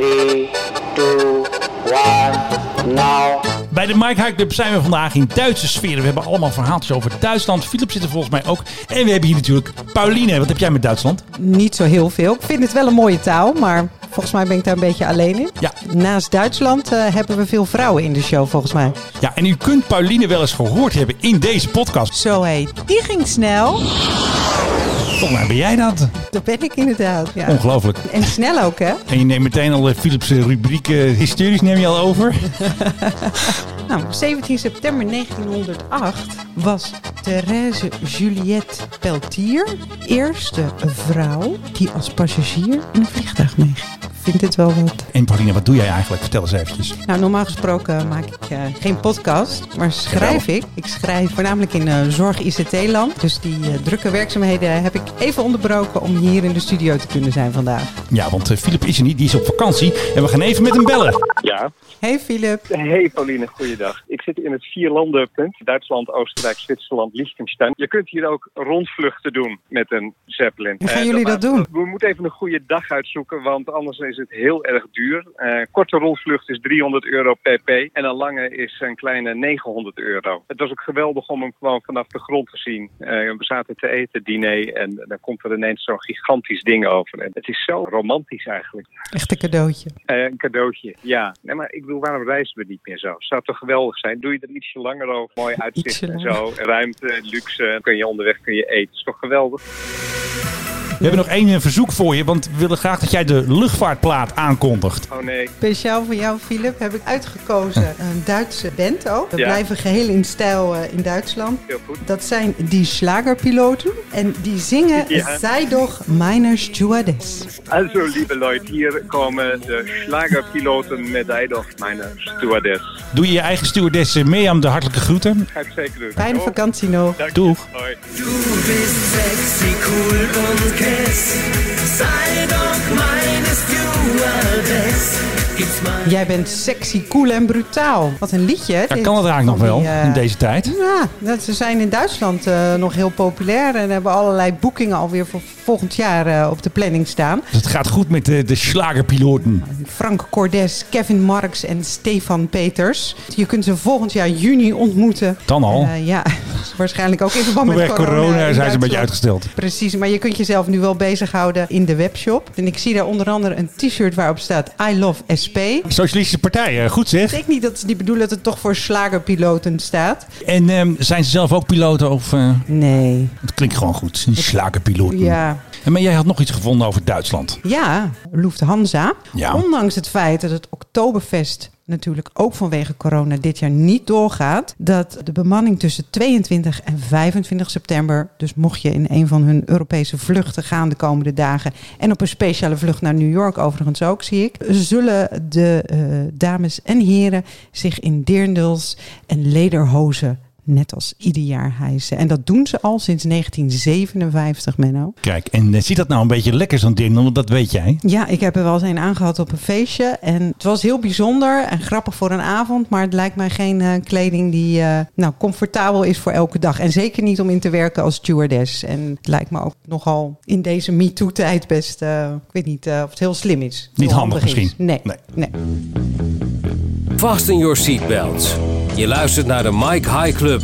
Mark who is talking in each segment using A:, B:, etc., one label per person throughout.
A: 3, 2, 1, now.
B: Bij de Mike High Club zijn we vandaag in Duitse sferen. We hebben allemaal verhaaltjes over Duitsland. Philip zit er volgens mij ook. En we hebben hier natuurlijk Pauline. Wat heb jij met Duitsland?
C: Niet zo heel veel. Ik vind het wel een mooie taal, maar volgens mij ben ik daar een beetje alleen in.
B: Ja.
C: Naast Duitsland eh, hebben we veel vrouwen in de show, volgens mij.
B: Ja, en u kunt Pauline wel eens gehoord hebben in deze podcast.
C: Zo hé, die ging snel.
B: Volgens mij ben jij dat.
C: Dat ben ik inderdaad. Ja.
B: Ongelooflijk.
C: En snel ook, hè?
B: En je neemt meteen al eh, Philips' eh, rubriek eh, historisch neem je al over.
C: Nou, op 17 september 1908 was Thérèse Juliette Peltier eerste vrouw die als passagier in een vliegtuig meeging. Ik vind dit wel wat.
B: En Pauline, wat doe jij eigenlijk? Vertel eens eventjes.
C: Nou, normaal gesproken maak ik eh, geen podcast, maar schrijf ik. Ik schrijf voornamelijk in eh, zorg-ICT-land. Dus die eh, drukke werkzaamheden heb ik even onderbroken om hier in de studio te kunnen zijn vandaag.
B: Ja, want eh, Philip is er niet. Die is op vakantie. En we gaan even met hem bellen.
D: Ja.
C: Hey Filip.
D: Hey Pauline, goeiedag. Ik zit in het vierlandenpunt. Duitsland, Oostenrijk, Zwitserland, Liechtenstein. Je kunt hier ook rondvluchten doen met een Zeppelin.
C: Hoe gaan
D: Eh,
C: jullie dat
D: maakt-
C: doen?
D: We moeten even een goede dag uitzoeken, want anders is het heel erg duur. Eh, korte rondvlucht is 300 euro pp en een lange is een kleine 900 euro. Het was ook geweldig om hem gewoon vanaf de grond te zien. Eh, we zaten te eten, diner en dan komt er ineens zo'n gigantisch ding over. En het is zo romantisch eigenlijk.
C: Echt een cadeautje.
D: Eh, een cadeautje, ja. Nee, maar ik bedoel, waarom reizen we niet meer zo? Zou toch geweldig zijn? Doe je er ietsje langer over? Mooi uitzicht
C: Ietsje
D: en zo. Ruimte, luxe. Kun je onderweg, kun je eten. Is toch geweldig?
B: We hebben nog één eh, verzoek voor je. Want we willen graag dat jij de luchtvaartplaat aankondigt.
D: Oh nee.
C: Speciaal voor jou, Filip, heb ik uitgekozen een Duitse band ook. We
D: Ja.
C: blijven geheel in stijl eh, in Duitsland.
D: Heel goed.
C: Dat zijn die slagerpiloten en die zingen
D: Ja.
C: Zij doch meine Stewardess.
D: Also, liebe Leute, hier komen de slagerpiloten met Eidoch, mijn stewardess.
B: Doe je je eigen stewardess eh, Mirjam de hartelijke groeten.
D: Ga ik zeker doen.
C: Fijne
D: Oh,
C: vakantie nog.
D: dank je.
B: Doeg.
D: Hoi.
E: Du bist sexy, cool und kiss. Sei doch meine Stewardess. Gib's mal.
C: Jij bent sexy, cool en brutaal. Wat een liedje, hè?
B: Ja,
C: dit?
B: kan dat eigenlijk nog
C: Van
B: wel
C: die, eh,
B: in deze tijd?
C: Ja, dat- ze zijn in Duitsland eh, nog heel populair en hebben allerlei boekingen alweer voor volgend jaar eh, op de planning staan.
B: Dus het gaat goed met de, de slagerpiloten.
C: Frank Cordes, Kevin Marx en Stefan Peters. Je kunt ze volgend jaar juni ontmoeten.
B: Dan al.
C: Eh, ja, waarschijnlijk ook in verband met
B: Vanwege
C: corona.
B: corona
C: in
B: zijn ze een beetje
C: Duitsland.
B: uitgesteld.
C: Precies, maar je kunt jezelf nu wel bezighouden in de webshop. En ik zie daar onder andere een t-shirt waarop staat I love SP.
B: Socialistische partijen, eh, goed
C: Ik
B: zeg.
C: denk niet dat ze die bedoelen dat het toch voor slagerpiloten staat.
B: En ehm, zijn ze zelf ook piloten? Of, eh,
C: Nee.
B: het klinkt gewoon goed. Een slagerpiloten.
C: Ja.
B: En Maar jij had nog iets gevonden over Duitsland.
C: Ja, Lufthansa.
B: Ja.
C: Ondanks het feit dat het Oktoberfest natuurlijk ook vanwege corona dit jaar niet doorgaat, dat de bemanning tussen 22 en 25 september, dus mocht je in een van hun Europese vluchten gaan de komende dagen, en op een speciale vlucht naar New York overigens ook, zie ik, zullen de eh, dames en heren zich in deerndels en lederhozen net als ieder jaar hijsen. En dat doen ze al sinds 1957, Menno.
B: Kijk, en eh, ziet dat nou een beetje lekker zo'n ding? Want dat weet jij.
C: Ja, ik heb er wel eens een aangehad op een feestje. En het was heel bijzonder en grappig voor een avond. Maar het lijkt mij geen eh, kleding die eh, nou, comfortabel is voor elke dag. En zeker niet om in te werken als stewardess. En het lijkt me ook nogal in deze MeToo-tijd best... eh, ik weet niet eh, of het heel slim is.
B: Niet
C: Heel
B: handig
C: is.
B: misschien.
C: Nee,
B: Nee.
C: nee.
F: Vast in your seatbelts. Je luistert naar de Mike High Club.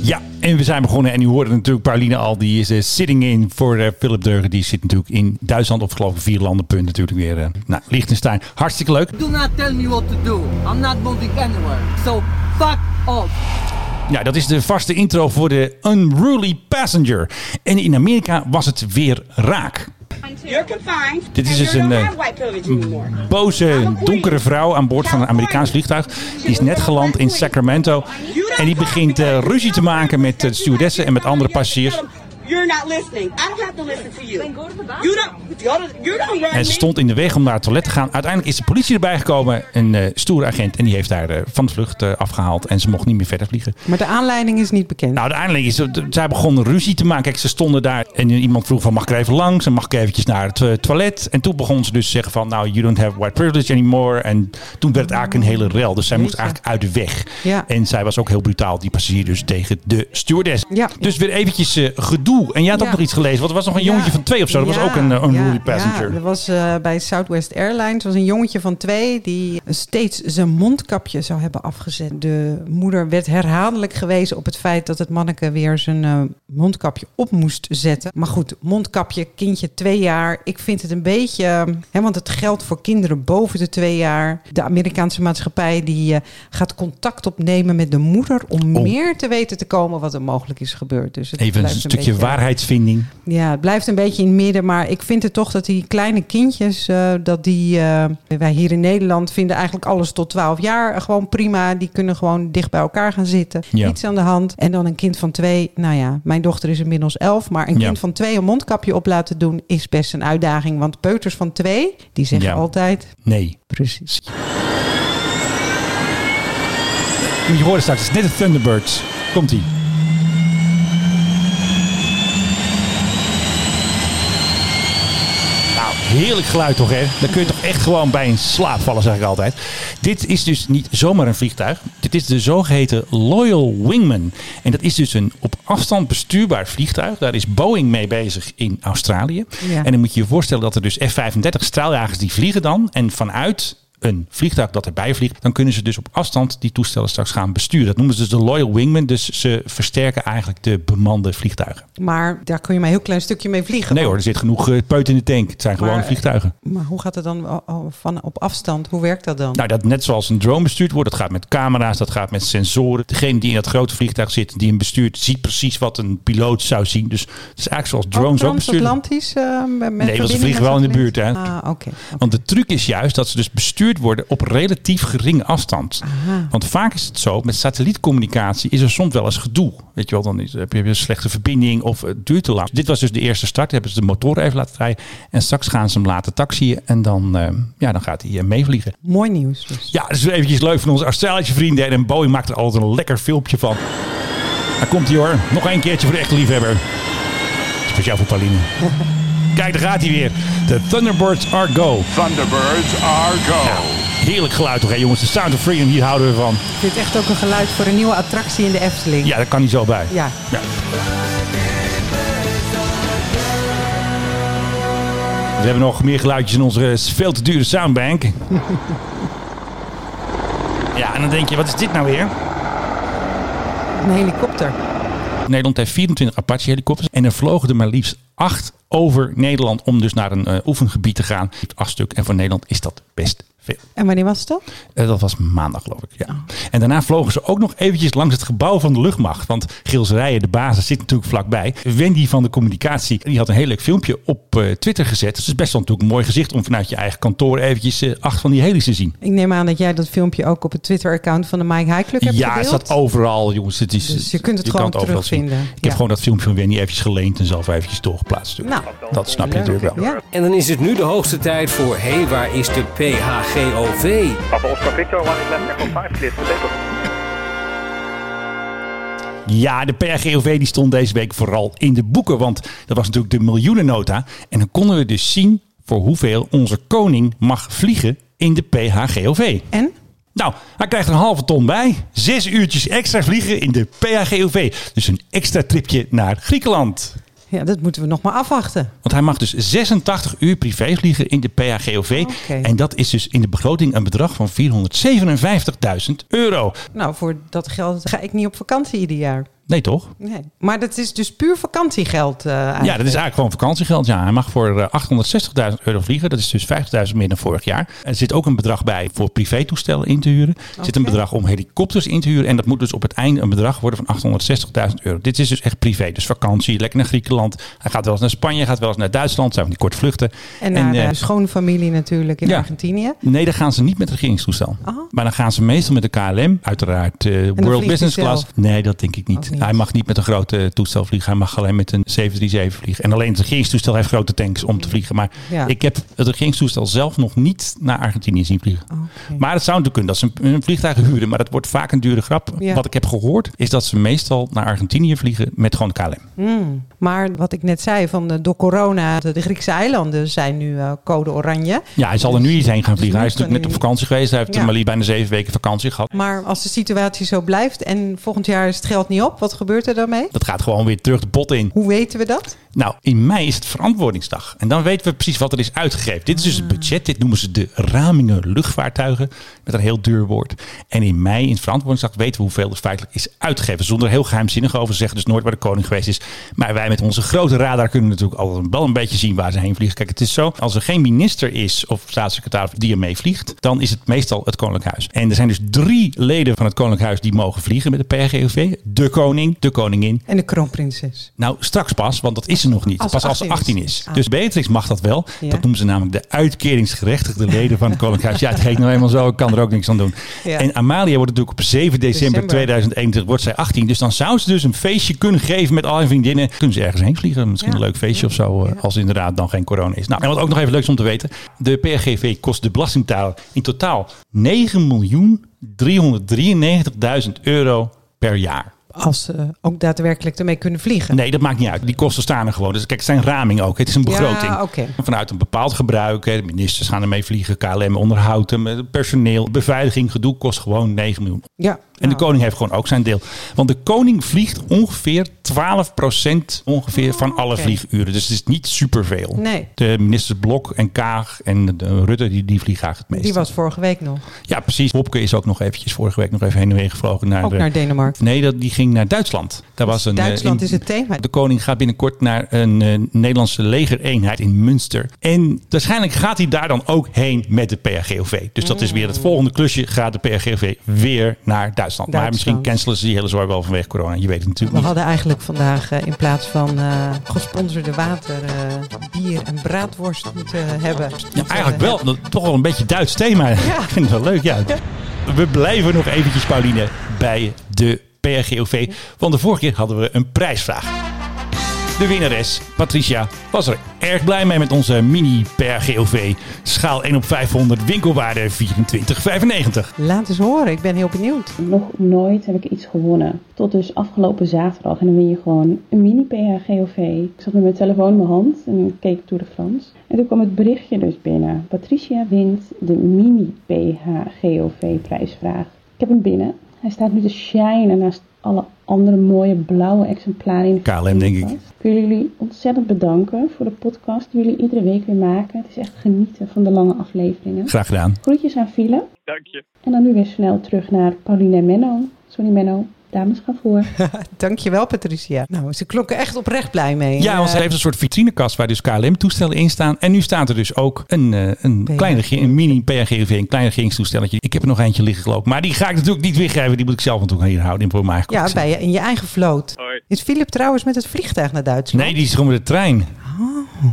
B: Ja, en we zijn begonnen. En u hoorde natuurlijk Pauline al. Die is eh, sitting in voor eh, Philip Deugen. Die zit natuurlijk in Duitsland. Of geloof ik vier landenpunt natuurlijk weer. eh, nou, Liechtenstein. Hartstikke leuk.
G: Do not tell me what to do. I'm not moving anywhere. So fuck off.
B: Ja, dat is de vaste intro voor de Unruly Passenger. En in Amerika was het weer raak.
H: You're confined.
B: Dit is
H: and
B: dus
H: you're
B: een
H: not
B: eh,
H: on white privilege anymore.
B: boze, donkere vrouw aan boord van een Amerikaans vliegtuig. Die is net geland in Sacramento. En die begint eh, ruzie te maken met de stewardessen en met andere passagiers.
H: You're not listening. I don't have to listen to you. Then go to the bathroom. You don't, you don't, you don't run
B: En ze
H: me.
B: stond in de weg om naar het toilet te gaan. Uiteindelijk is de politie erbij gekomen. Een eh stoere agent. En die heeft haar eh, van de vlucht eh, afgehaald. En ze mocht niet meer verder vliegen.
C: Maar de aanleiding is niet bekend.
B: Nou, uiteindelijk is het- zij begonnen ruzie te maken. Kijk, ze stonden daar en iemand vroeg van mag ik er even langs en mag ik eventjes naar het eh, toilet. En toen begon ze dus te zeggen van nou, you don't have white privilege anymore. En toen werd het eigenlijk een hele rel. Dus zij moest eigenlijk uit de weg.
C: Ja.
B: En zij was ook heel brutaal, die passagier dus tegen de stewardess.
C: Ja.
B: Dus weer eventjes eh, gedoe toe. En jij had ook
C: Ja.
B: nog iets gelezen. Want er was nog een jongetje van twee of zo. Dat
C: Ja,
B: was ook een eh, unruly
C: ja,
B: passenger.
C: Ja, er was eh, bij Southwest Airlines was een jongetje van twee die steeds zijn mondkapje zou hebben afgezet. De moeder werd herhaaldelijk gewezen op het feit dat het manneke weer zijn eh, mondkapje op moest zetten. Maar goed, mondkapje, kindje twee jaar. Ik vind het een beetje, eh, hè, want het geldt voor kinderen boven de twee jaar. De Amerikaanse maatschappij die eh, gaat contact opnemen met de moeder om
B: Oh.
C: meer te weten te komen wat er mogelijk is gebeurd. Dus het
B: Even een
C: blijft
B: stukje
C: beetje-
B: waarheidsvinding.
C: ja, het blijft een beetje in het midden. Maar ik vind het toch dat die kleine kindjes, eh, dat die. eh, wij hier in Nederland vinden eigenlijk alles tot 12 jaar gewoon prima. Die kunnen gewoon dicht bij elkaar gaan zitten.
B: Ja.
C: Niets aan de hand. En dan een kind van twee. Nou ja, mijn dochter is inmiddels elf. Maar een
B: Ja.
C: kind van twee een mondkapje op laten doen is best een uitdaging. Want peuters van twee, die zeggen
B: Ja.
C: altijd.
B: Nee.
C: Precies.
B: Je hoorde straks, het is net de Thunderbirds. Komt-ie. Nou, heerlijk geluid toch, hè? Daar kun je toch echt gewoon bij in slaap vallen, zeg ik altijd. Dit is dus niet zomaar een vliegtuig. Dit is de zogeheten Loyal Wingman. En dat is dus een op afstand bestuurbaar vliegtuig. Daar is Boeing mee bezig in Australië.
C: Ja.
B: En dan moet je je voorstellen dat er dus F-35 straaljagers die vliegen dan. En vanuit een vliegtuig dat erbij vliegt, dan kunnen ze dus op afstand die toestellen straks gaan besturen. Dat noemen ze dus de Loyal Wingman. Dus ze versterken eigenlijk de bemande vliegtuigen.
C: Maar daar kun je maar een heel klein stukje mee vliegen.
B: Nee hoor, er zit genoeg eh, peut in de tank. Het zijn gewoon
C: Maar-
B: vliegtuigen.
C: Maar hoe gaat het dan oh, oh, van op afstand? Hoe werkt dat dan?
B: Nou, dat net zoals een drone bestuurd wordt, dat gaat met camera's, dat gaat met sensoren. Degene die in dat grote vliegtuig zit, die hem bestuurt, ziet precies wat een piloot zou zien. Dus het is eigenlijk zoals drones ook, bestuurd. worden.
C: Transatlantisch? eh, met
B: want ze
C: verbinding
B: vliegen
C: met
B: wel in de
C: satelliet?
B: buurt, hè.
C: Ah, oké. oké.
B: Want de truc is juist dat ze dus bestuurd worden op relatief geringe afstand. Want vaak is het zo, met satellietcommunicatie is er soms wel eens gedoe. Weet je wel, dan is, heb je weer een slechte verbinding of het duurt te lang. Dit was dus de eerste start, hebben ze de motoren even laten draaien. En straks gaan ze hem laten taxiën en dan, eh, ja, dan gaat hij eh, meevliegen.
C: Mooi nieuws dus.
B: Ja, dat is eventjes leuk van onze Australische vrienden. En Boeing maakt er altijd een lekker filmpje van. Daar komt hij hoor. Nog een keertje voor de echte liefhebber. Speciaal voor Pauline. Kijk, daar gaat hij weer. De Thunderbirds are go.
I: Thunderbirds are go.
B: Heerlijk geluid toch hè jongens. De Sound of Freedom, hier houden we van.
C: Ik vind het echt ook een geluid voor een nieuwe attractie in de Efteling.
B: Ja, daar kan hij zo bij.
C: Ja.
B: Ja. We hebben nog meer geluidjes in onze eh, veel te dure soundbank. ja, en dan denk je, wat is dit nou weer?
C: Een helikopter.
B: Nederland heeft 24 Apache-helikopters. En er vlogen er maar liefst acht over Nederland om dus naar een eh, oefengebied te gaan. Acht stuk. En voor Nederland is dat best veel.
C: En wanneer was dat?
B: Eh, dat was maandag, geloof ik.
C: Oh.
B: Ja. En daarna vlogen ze ook nog eventjes langs het gebouw van de luchtmacht. Want Gils Rijen, de basis, zit natuurlijk vlakbij. Wendy van de communicatie, die had een heel leuk filmpje op eh, Twitter gezet. Het is best wel natuurlijk een mooi gezicht om vanuit je eigen kantoor eventjes eh, acht van die heli's te zien.
C: Ik neem aan dat jij dat filmpje ook op het Twitter-account van de Mike High Club hebt
B: Ja, het
C: gedeeld.
B: staat overal, jongens. Het is,
C: Dus je kunt het gewoon
B: overal zien.
C: terugvinden.
B: Ik
C: Ja.
B: heb gewoon dat filmpje van Wendy eventjes geleend en zelf eventjes doorgeplaatst.
C: Nou,
B: dat snap je natuurlijk wel.
C: Ja.
F: En dan is het nu de hoogste tijd voor Hé, hey, waar is de PHGOV?
D: Papa Oscar Victor, one is left echo 5, clear to label.
B: Ja, de PRGOV die stond deze week vooral in de boeken. Want dat was natuurlijk de miljoenennota. En dan konden we dus zien voor hoeveel onze koning mag vliegen in de PHGOV.
C: En?
B: Nou, hij krijgt een halve ton bij. Zes uurtjes extra vliegen in de PHGOV. Dus een extra tripje naar Griekenland.
C: Ja, dat moeten we nog maar afwachten.
B: Want hij mag dus 86 uur privé vliegen in de PHGOV.
C: Oké.
B: En dat is dus in de begroting een bedrag van 457.000 euro.
C: Nou, voor dat geld ga ik niet op vakantie ieder jaar.
B: Nee toch?
C: Nee. Maar dat is dus puur vakantiegeld eh, eigenlijk.
B: Ja, dat is eigenlijk gewoon vakantiegeld. Ja, hij mag voor eh, 860.000 euro vliegen. Dat is dus 50.000 meer dan vorig jaar. Er zit ook een bedrag bij voor privétoestellen in te huren. Er zit een
C: Oké.
B: bedrag om helikopters in te huren. En dat moet dus op het einde een bedrag worden van 860.000 euro. Dit is dus echt privé. Dus vakantie, lekker naar Griekenland. Hij gaat wel eens naar Spanje, hij gaat wel eens naar Duitsland. Zijn van die korte vluchten.
C: En naar
B: eh,
C: de schoonfamilie natuurlijk in
B: ja.
C: Argentinië.
B: Nee, dan gaan ze niet met het regeringstoestel.
C: Aha.
B: Maar dan gaan ze meestal met de KLM, uiteraard eh,
C: vliegt
B: World
C: hij
B: Business
C: zelf?
B: Class. Nee, dat denk ik niet.
C: Ook niet.
B: Hij mag niet met een grote toestel vliegen. Hij mag alleen met een 737 vliegen. En alleen het regeringstoestel heeft grote tanks om te vliegen. Maar
C: Ja.
B: ik heb het regeringstoestel zelf nog niet naar Argentinië zien vliegen.
C: Oh,
B: Maar het zou natuurlijk kunnen dat ze een, een vliegtuig huren. Maar dat wordt vaak een dure grap.
C: Ja.
B: Wat ik heb gehoord is dat ze meestal naar Argentinië vliegen met gewoon de KLM.
C: Hm. Maar wat ik net zei, van eh, door corona, de, de Griekse eilanden zijn nu eh, code oranje.
B: Ja, hij zal er nu niet heen gaan vliegen. Hij is
C: moet
B: natuurlijk net op
C: er nu
B: vakantie geweest. Hij heeft
C: Ja.
B: maar liefst bijna zeven weken vakantie gehad.
C: Maar als de situatie zo blijft en volgend jaar is het geld niet op, Wat gebeurt er dan mee?
B: Dat gaat gewoon weer terug de pot in.
C: Hoe weten we dat?
B: Nou, in mei is het verantwoordingsdag. En dan weten we precies wat er is uitgegeven. Dit is dus het budget. Dit noemen ze de ramingen luchtvaartuigen. Met een heel duur woord. En in mei, in het verantwoordingsdag, weten we hoeveel er feitelijk is uitgegeven. Zonder er heel geheimzinnig over te zeggen. Dus nooit waar de koning geweest is. Maar wij met onze grote radar kunnen natuurlijk altijd wel een beetje zien waar ze heen vliegen. Kijk, het is zo. Als er geen minister is of staatssecretaris die ermee vliegt. Dan is het meestal het Koninklijk Huis. En er zijn dus drie leden van het Koninklijk Huis die mogen vliegen met de PRGOV. De koning, de koningin
C: En de kroonprinses.
B: nou, straks pas, want dat is ze nog niet.
C: Als ze
B: pas als ze
C: 18
B: 18
C: is.
B: is.
C: Ah.
B: Dus Beatrix mag dat wel.
C: Ja.
B: Dat noemen ze namelijk de uitkeringsgerechtigde leden van het Koninklijk Huis. Ja, het heet nou eenmaal zo. Ik kan er ook niks aan doen.
C: Ja.
B: En Amalia wordt natuurlijk op 7 december,
C: December.
B: 2021 wordt zij 18. Dus dan zou ze dus een feestje kunnen geven met al haar vriendinnen. Kunnen ze ergens heen vliegen? Misschien
C: Ja.
B: een leuk feestje
C: Ja.
B: of zo. eh,
C: Ja.
B: Als er inderdaad dan geen corona is. Nou, en wat ook nog even leuk is om te weten. De PRGV kost de belastingtaal in totaal 9.393.000 euro per jaar.
C: Als ze ook daadwerkelijk ermee kunnen vliegen.
B: Nee, dat maakt niet uit. Die kosten staan er gewoon. Dus kijk, het zijn raming ook. Het is een
C: Ja,
B: begroting.
C: oké.
B: Vanuit een bepaald gebruik. hè, De ministers gaan ermee vliegen. KLM onderhoudt hem. eh, Personeel, beveiliging, gedoe kost gewoon 9 miljoen.
C: Ja.
B: En de
C: Nou,
B: koning heeft gewoon ook zijn deel. Want de koning vliegt ongeveer 12% ongeveer van alle
C: oké.
B: vlieguren. Dus het is niet superveel.
C: Nee.
B: De ministers Blok en Kaag en eh, Rutte, die, die vliegen eigenlijk het meest.
C: Die was vorige week nog.
B: Ja, precies. Wopke is ook nog eventjes vorige week nog even heen en weer gevlogen. Naar
C: Ook
B: de-
C: naar Denemarken.
B: Nee, dat, die ging naar Duitsland. Daar was een, eh,
C: Duitsland
B: in-
C: is het thema.
B: De koning gaat binnenkort naar een eh, Nederlandse legereenheid in Münster. En waarschijnlijk gaat hij daar dan ook heen met de PRGOV. Dus dat is weer
C: Mm.
B: het volgende klusje. Gaat de PRGOV weer naar Duitsland. Maar
C: Duitsland.
B: misschien cancelen ze die hele zorg wel vanwege corona. Je weet het
C: We
B: natuurlijk niet.
C: hadden eigenlijk vandaag eh, in plaats van eh, gesponsorde water, eh, bier en braadworst moeten hebben.
B: Ja, eigenlijk wel. Dat, toch wel een beetje Duits thema. Ik vind het wel leuk, ja. We blijven nog eventjes, Pauline, bij de PRGOV. Want de vorige keer hadden we een prijsvraag. De winnares, Patricia, was er erg blij mee met onze mini PRGOV. Schaal 1 op 500, winkelwaarde 24,95.
C: Laat eens horen, ik ben heel benieuwd.
J: Nog nooit heb ik iets gewonnen. Tot dus afgelopen zaterdag. En dan win je gewoon een mini PHGOV. Ik zat met mijn telefoon in mijn hand en ik keek Tour de France. En toen kwam het berichtje dus binnen. Patricia wint de mini PHGOV prijsvraag. Ik heb hem binnen. Hij staat nu te shinen naast alle andere mooie blauwe exemplaren in de
B: KLM, denk ik.
J: ik wil jullie ontzettend bedanken voor de podcast die jullie iedere week weer maken. Het is echt genieten van de lange afleveringen.
B: Graag gedaan.
J: Groetjes aan File.
D: Dank je.
J: En dan nu weer snel terug naar Pauline en Menno. Sorry Menno, dames gaan voor.
C: Dankjewel, Patricia. Nou, ze klokken echt oprecht blij mee.
B: Ja,
C: En,
B: want
C: eh,
B: ze heeft een soort vitrinekast waar dus KLM-toestellen in staan. En nu staat er dus ook een, eh, een,
C: PRGOV.
B: klein, regi- een mini PRGV, een klein regeringstoestelletje. Ik heb er nog eentje liggen gelopen. Maar die ga ik natuurlijk niet weggeven. Die moet ik zelf natuurlijk hier houden in voor mijn eigen
C: ja,
B: collectie.
C: bij je, in je eigen vloot.
D: Hoi.
C: Is Philip trouwens met het vliegtuig naar Duitsland?
B: Nee, die is gewoon met de trein.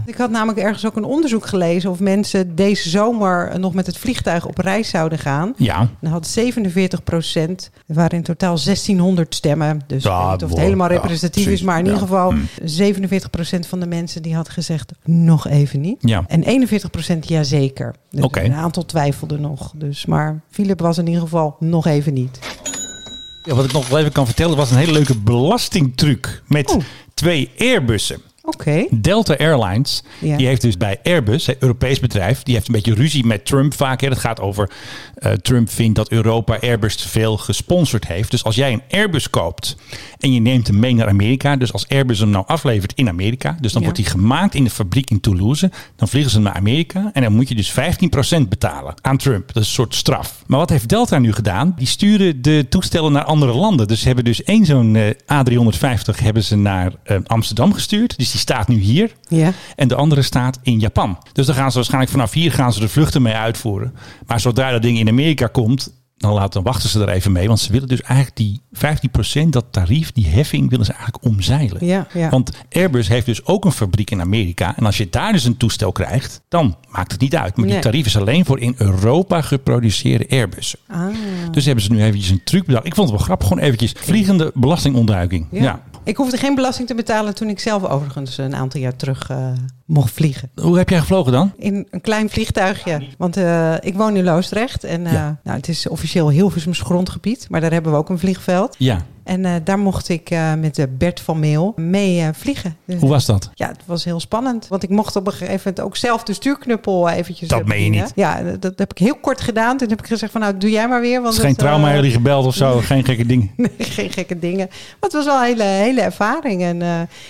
C: Ik had namelijk ergens ook een onderzoek gelezen of mensen deze zomer nog met het vliegtuig op reis zouden gaan.
B: Ja.
C: Dan had 47 procent, er waren in totaal 1600 stemmen. Dus ik
B: Ja,
C: weet niet of het
B: wow,
C: helemaal
B: ja,
C: representatief
B: precies,
C: is, maar in
B: ja. Hm.
C: ieder geval 47 procent van de mensen die had gezegd nog even niet.
B: Ja.
C: En 41 procent jazeker. Dus
B: Oké.
C: Een aantal twijfelden nog. Dus, maar Philip was in ieder geval nog even niet.
B: Ja, wat ik nog wel even kan vertellen, was een hele leuke belastingtruc met
C: Oh.
B: twee Airbussen.
C: Oké.
B: Delta Airlines,
C: Ja.
B: die heeft dus bij Airbus, een Europees bedrijf, die heeft een beetje ruzie met Trump vaak. Hè. Dat gaat over, eh, Trump vindt dat Europa Airbus te veel gesponsord heeft. Dus als jij een Airbus koopt en je neemt hem mee naar Amerika, dus als Airbus hem nou aflevert in Amerika, dus dan
C: Ja.
B: wordt hij gemaakt in de fabriek in Toulouse, dan vliegen ze hem naar Amerika en dan moet je dus 15% betalen aan Trump. Dat is een soort straf. Maar wat heeft Delta nu gedaan? Die sturen de toestellen naar andere landen. Dus ze hebben dus één zo'n eh, A350 hebben ze naar eh, Amsterdam gestuurd. Dus die staat nu hier.
C: Ja.
B: En de andere staat in Japan. Dus dan gaan ze waarschijnlijk vanaf hier gaan ze de vluchten mee uitvoeren. Maar zodra dat ding in Amerika komt, dan, laten, dan wachten ze er even mee. Want ze willen dus eigenlijk die 15%, dat tarief, die heffing, willen ze eigenlijk omzeilen.
C: Ja, ja.
B: Want Airbus heeft dus ook een fabriek in Amerika. En als je daar dus een toestel krijgt, dan maakt het niet uit. Maar
C: Nee.
B: die tarief is alleen voor in Europa geproduceerde Airbussen.
C: Ah,
B: Dus hebben ze nu eventjes een truc bedacht. Ik vond het wel grappig, gewoon eventjes vliegende belastingontduiking.
C: Ja.
B: ja.
C: Ik hoefde geen belasting te betalen toen ik zelf overigens een aantal jaar terug eh, mocht vliegen.
B: Hoe heb jij gevlogen dan?
C: In een klein vliegtuigje. Want eh, ik woon in Loosdrecht. En eh,
B: Ja.
C: nou, het is officieel Hilversums grondgebied. Maar daar hebben we ook een vliegveld.
B: Ja.
C: En eh, daar mocht ik eh, met eh, Bert van Meel mee eh, vliegen. Dus-
B: Hoe was dat?
C: ja, het was heel spannend. Want ik mocht op een gegeven moment ook zelf de stuurknuppel eh, eventjes...
B: Dat meen je
C: bedienen.
B: niet.
C: Ja, dat, dat heb ik heel kort gedaan. Toen heb ik gezegd van nou, doe jij maar weer. Want
B: Het is geen
C: dat, eh,
B: trauma, jullie gebeld of zo. Geen gekke dingen.
C: Nee, geen gekke dingen. Maar het was wel een hele, hele ervaring. En eh,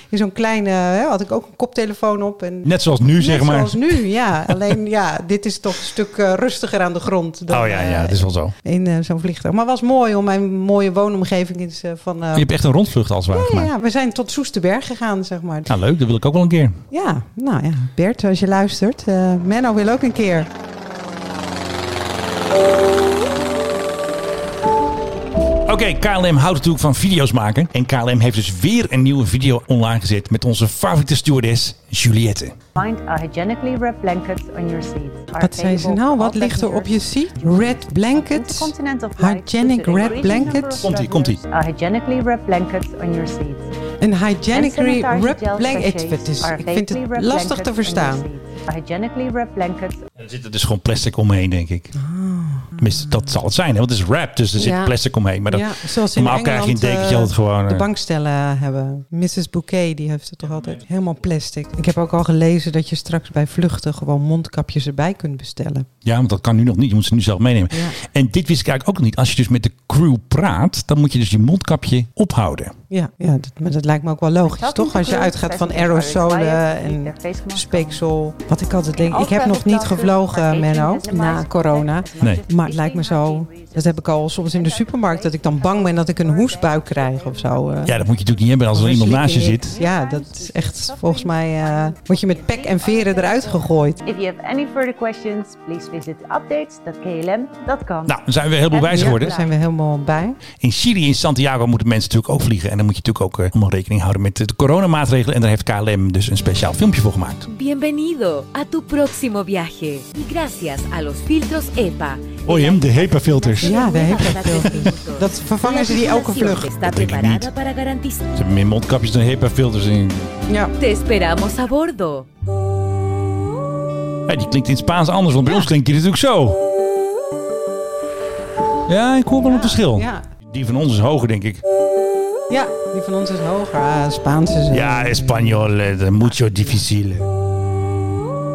C: in zo'n kleine hè, had ik ook een koptelefoon op. En
B: Net zoals nu, zeg
C: Net
B: maar.
C: zoals nu, ja. Alleen ja, dit is toch een stuk eh, rustiger aan de grond. Dan,
B: oh ja, ja,
C: eh,
B: dat is wel zo.
C: In eh, zo'n vliegtuig. Maar het was mooi om mijn mooie woonomgeving is, eh, van... eh,
B: Je hebt echt een rondvlucht als het ware
C: ja,
B: gemaakt.
C: ja, we zijn tot Soesterberg gegaan, zeg maar.
B: Nou, leuk. Dat wil ik ook wel een keer.
C: Ja, nou ja, Bert, als je luistert. eh, Menno wil ook een keer.
B: Oké, KLM houdt natuurlijk van video's maken. En KLM heeft dus weer een nieuwe video online gezet met onze favoriete stewardess, Juliette.
E: Find a hygienically wrapped blankets on your seats.
C: Wat zei ze nou? Wat ligt er op je seat? Red blankets. Hygienic red blankets.
B: Komt-ie, komt-ie.
E: A hygienically wrapped blankets on your seats.
C: Een hygienic
E: En sanitary
C: red
E: gel
C: blanket.
E: sachets
C: Het is-
E: are
C: Ik vind
E: safely
C: het
E: wrapped
C: lastig te
E: blankets on your
C: verstaan.
E: seats. A hygienically wrapped blankets
B: En er zit er dus gewoon plastic omheen, denk ik. Tenminste, dat zal het zijn, hè? want het is wrap, dus er zit
C: Ah. Ja.
B: plastic omheen. Maar dat,
C: Ja, zoals in
B: normaal krijg je een
C: Engeland
B: dekentje
C: eh,
B: altijd gewoon...
C: de
B: eh,
C: bankstellen hebben. Mrs. Bouquet die heeft het toch altijd helemaal plastic. Ik heb ook al gelezen dat je straks bij vluchten gewoon mondkapjes erbij kunt bestellen.
B: Ja, want dat kan nu nog niet. Je moet ze nu zelf meenemen.
C: Ja.
B: En dit wist ik eigenlijk ook niet. Als je dus met de crew praat, dan moet je dus je mondkapje ophouden.
C: Ja, ja dat, maar dat lijkt me ook wel logisch, toch? Als je uitgaat van aerosolen en speeksel. Wat ik altijd denk, ik heb nog niet gevlogen, Menno, na corona.
B: Nee.
C: Maar het lijkt me zo, dat heb ik al soms in de supermarkt, dat ik dan bang ben dat ik een hoestbui krijg of zo. eh.
B: Ja, dat moet je natuurlijk niet hebben als er iemand naast je
C: Verslikking.
B: zit.
C: Ja, dat is echt, volgens mij eh, word je met pek en veren eruit gegooid.
E: If you have any further questions, please visit updates.klm.com.
B: Nou, dan zijn we heel veel wijzer
C: Ja,
B: geworden.
C: daar zijn we helemaal bij.
B: In Chili, in Santiago, moeten mensen natuurlijk ook vliegen. En dan moet je natuurlijk ook eh, allemaal rekening houden met de coronamaatregelen. En daar heeft KLM dus een speciaal filmpje voor gemaakt.
E: Bienvenido a tu próximo viaje. Y gracias a los filtros E EPA.
B: OEM, de HEPA-filters. Ze
C: Ja, de HEPA-filters. Dat vervangen ze die elke vlucht. er
E: Está
B: denk ik niet.
E: preparada para garantizar.
B: hebben meer mondkapjes dan HEPA-filters in.
C: Ja.
E: Te esperamos a bordo.
B: Ja, die klinkt in het Spaans anders, want bij ons klinkt die natuurlijk zo. Ja, ik hoor wel een verschil.
C: Ja.
B: Die van ons is hoger, denk ik.
C: ja, die van ons is hoger. Ah, Spaans is eh,
B: Ja, Espanol, eh, mucho difícil.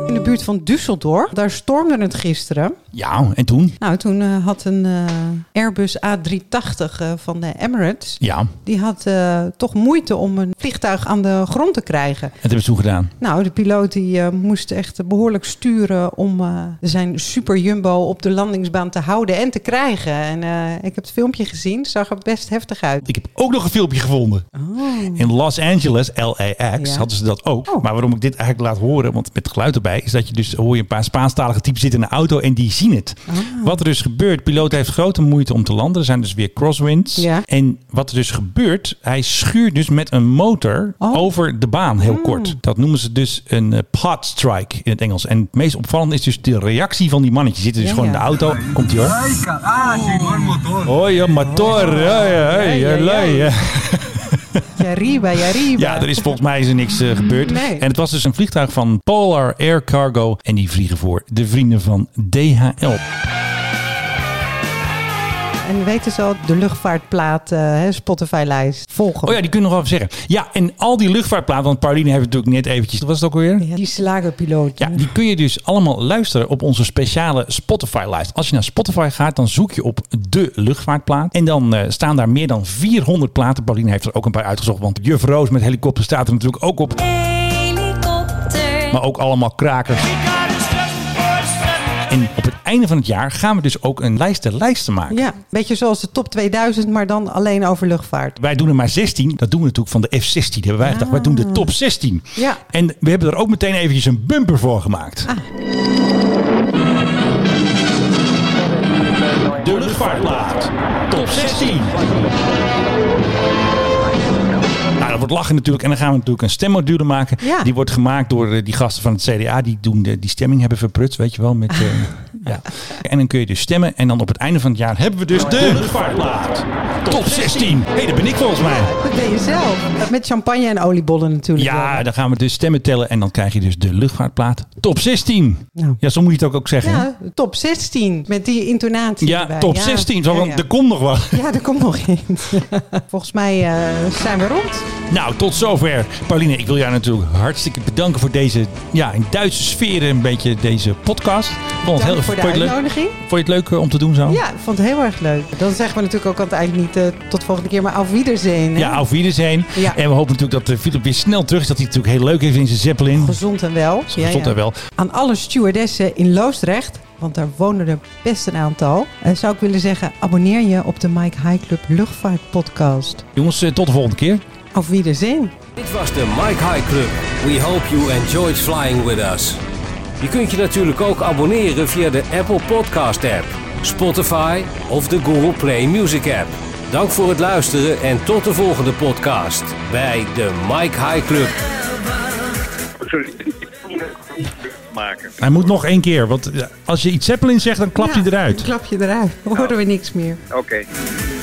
C: In de buurt van Düsseldorf, daar stormde het gisteren.
B: Ja, en toen?
C: Nou, toen eh, had een eh, Airbus A380 eh, van de Emirates...
B: Ja, dat
C: die had eh, toch moeite om een vliegtuig aan de grond te krijgen.
B: hebben ze toen gedaan.
C: Nou, de piloot die, eh, moest echt behoorlijk sturen om eh, zijn super jumbo op de landingsbaan te houden en te krijgen. En eh, ik heb het filmpje gezien, zag er best heftig uit.
B: Ik heb ook nog een filmpje gevonden. In Los Angeles, LAX,
C: Oh. Ja.
B: hadden ze dat ook.
C: Oh.
B: Maar waarom ik dit eigenlijk laat horen, want met geluid erbij, is dat je dus hoor je een paar Spaanstalige typen zitten in een auto en die zien het.
C: Ah.
B: Wat er dus gebeurt, de piloot heeft grote moeite om te landen. Er zijn dus weer crosswinds.
C: Ja.
B: En wat er dus gebeurt, hij schuurt dus met een motor
C: Oh.
B: over de baan heel kort. Dat noemen ze dus een eh, pod strike in het Engels. En het meest opvallende is dus de reactie van die mannetje. Zitten dus
C: Ja,
B: gewoon
C: ja.
B: in de auto. Komt hij hoor. Oh, je motor.
C: ja, ja. Jariba, Jariba.
B: Ja, er is volgens mij is er niks eh, gebeurd.
C: Nee.
B: En het was dus een vliegtuig van Polar Air Cargo. En die vliegen voor de vrienden van DHL.
C: En weten ze al, de luchtvaartplaat, eh, hè, Spotify-lijst, volgen.
B: Oh ja, die kunnen nog wel even zeggen. Ja, en al die luchtvaartplaten, want Pauline heeft het natuurlijk net eventjes... Wat was het ook alweer?
C: Ja, die slagerpiloot.
B: Ja, die kun je dus allemaal luisteren op onze speciale Spotify-lijst. Als je naar Spotify gaat, dan zoek je op de luchtvaartplaat. En dan eh, staan daar meer dan 400 platen. Pauline heeft er ook een paar uitgezocht, want Juf Roos met helikopter staat er natuurlijk ook op. Maar ook allemaal krakers. En op het einde van het jaar gaan we dus ook een lijst der lijsten maken.
C: Ja, beetje zoals de top 2000, maar dan alleen over luchtvaart.
B: Wij doen er maar 16. Dat doen we natuurlijk van de F16. Hebben wij gedacht. Wij doen de top 16.
C: Ah. Ja. Ah.
B: En we hebben er ook meteen eventjes een bumper voor gemaakt. De luchtvaartplaat. Top 16. Nou, dat wordt lachen natuurlijk. En dan gaan we natuurlijk een stemmodule maken.
C: Ja.
B: Die wordt gemaakt door eh, die gasten van het CDA. Die doen de, die stemming hebben verprutst, weet je wel. Met, eh, ja. En dan kun je dus stemmen. En dan op het einde van het jaar hebben we dus de luchtvaartplaat. Top 16. Hé, hey, dat ben ik volgens mij.
C: Dat ben je zelf. Met champagne en oliebollen natuurlijk.
B: Ja,
C: wel.
B: dan gaan we dus stemmen tellen. En dan krijg je dus de luchtvaartplaat. Top 16.
C: Nou.
B: Ja, zo moet je het ook, ook zeggen. hè?
C: ja, top 16. Met die intonatie
B: Ja,
C: erbij.
B: top 16. Zo,
C: ja,
B: want
C: ja.
B: Er komt nog wat.
C: Ja, er komt nog één. Volgens mij eh, zijn we rond.
B: Nou, tot zover. Pauline, ik wil jou natuurlijk hartstikke bedanken voor deze, ja, in Duitse sfeer een beetje deze podcast. Ik Vond het
C: Dank
B: heel,
C: voor
B: vond
C: de
B: je het leuk,
C: uitnodiging.
B: vond je het leuk eh, om te doen zo?
C: Ja, ik vond het heel erg leuk. Dan zeggen we natuurlijk ook aan het eind niet eh, tot volgende keer, maar auf Wiedersehen. hè?
B: Ja, auf Wiedersehen.
C: Ja.
B: En we hopen natuurlijk dat eh, Philip weer snel terug is. Dat hij het natuurlijk heel leuk heeft in zijn Zeppelin.
C: Gezond en wel.
B: Gezond en wel.
C: Aan alle stewardessen in Loosdrecht, want daar wonen er best een aantal, eh, zou ik willen zeggen, abonneer je op de Mike High Club Luchtvaartpodcast.
B: Jongens, eh, tot de volgende keer.
C: Auf Wiedersehen.
F: Dit was de Mike High Club. We hope you enjoyed flying with us. Je kunt je natuurlijk ook abonneren via de Apple Podcast app, Spotify of de Google Play Music app. Dank voor het luisteren en tot de volgende podcast bij de Mike High Club.
D: Sorry. Maken.
B: Hij moet nog één keer, want eh, als je iets Zeppelin zegt, dan klapt
C: Ja,
B: hij eruit.
C: Klap je eruit. Dan horen we niks meer.
D: Oké.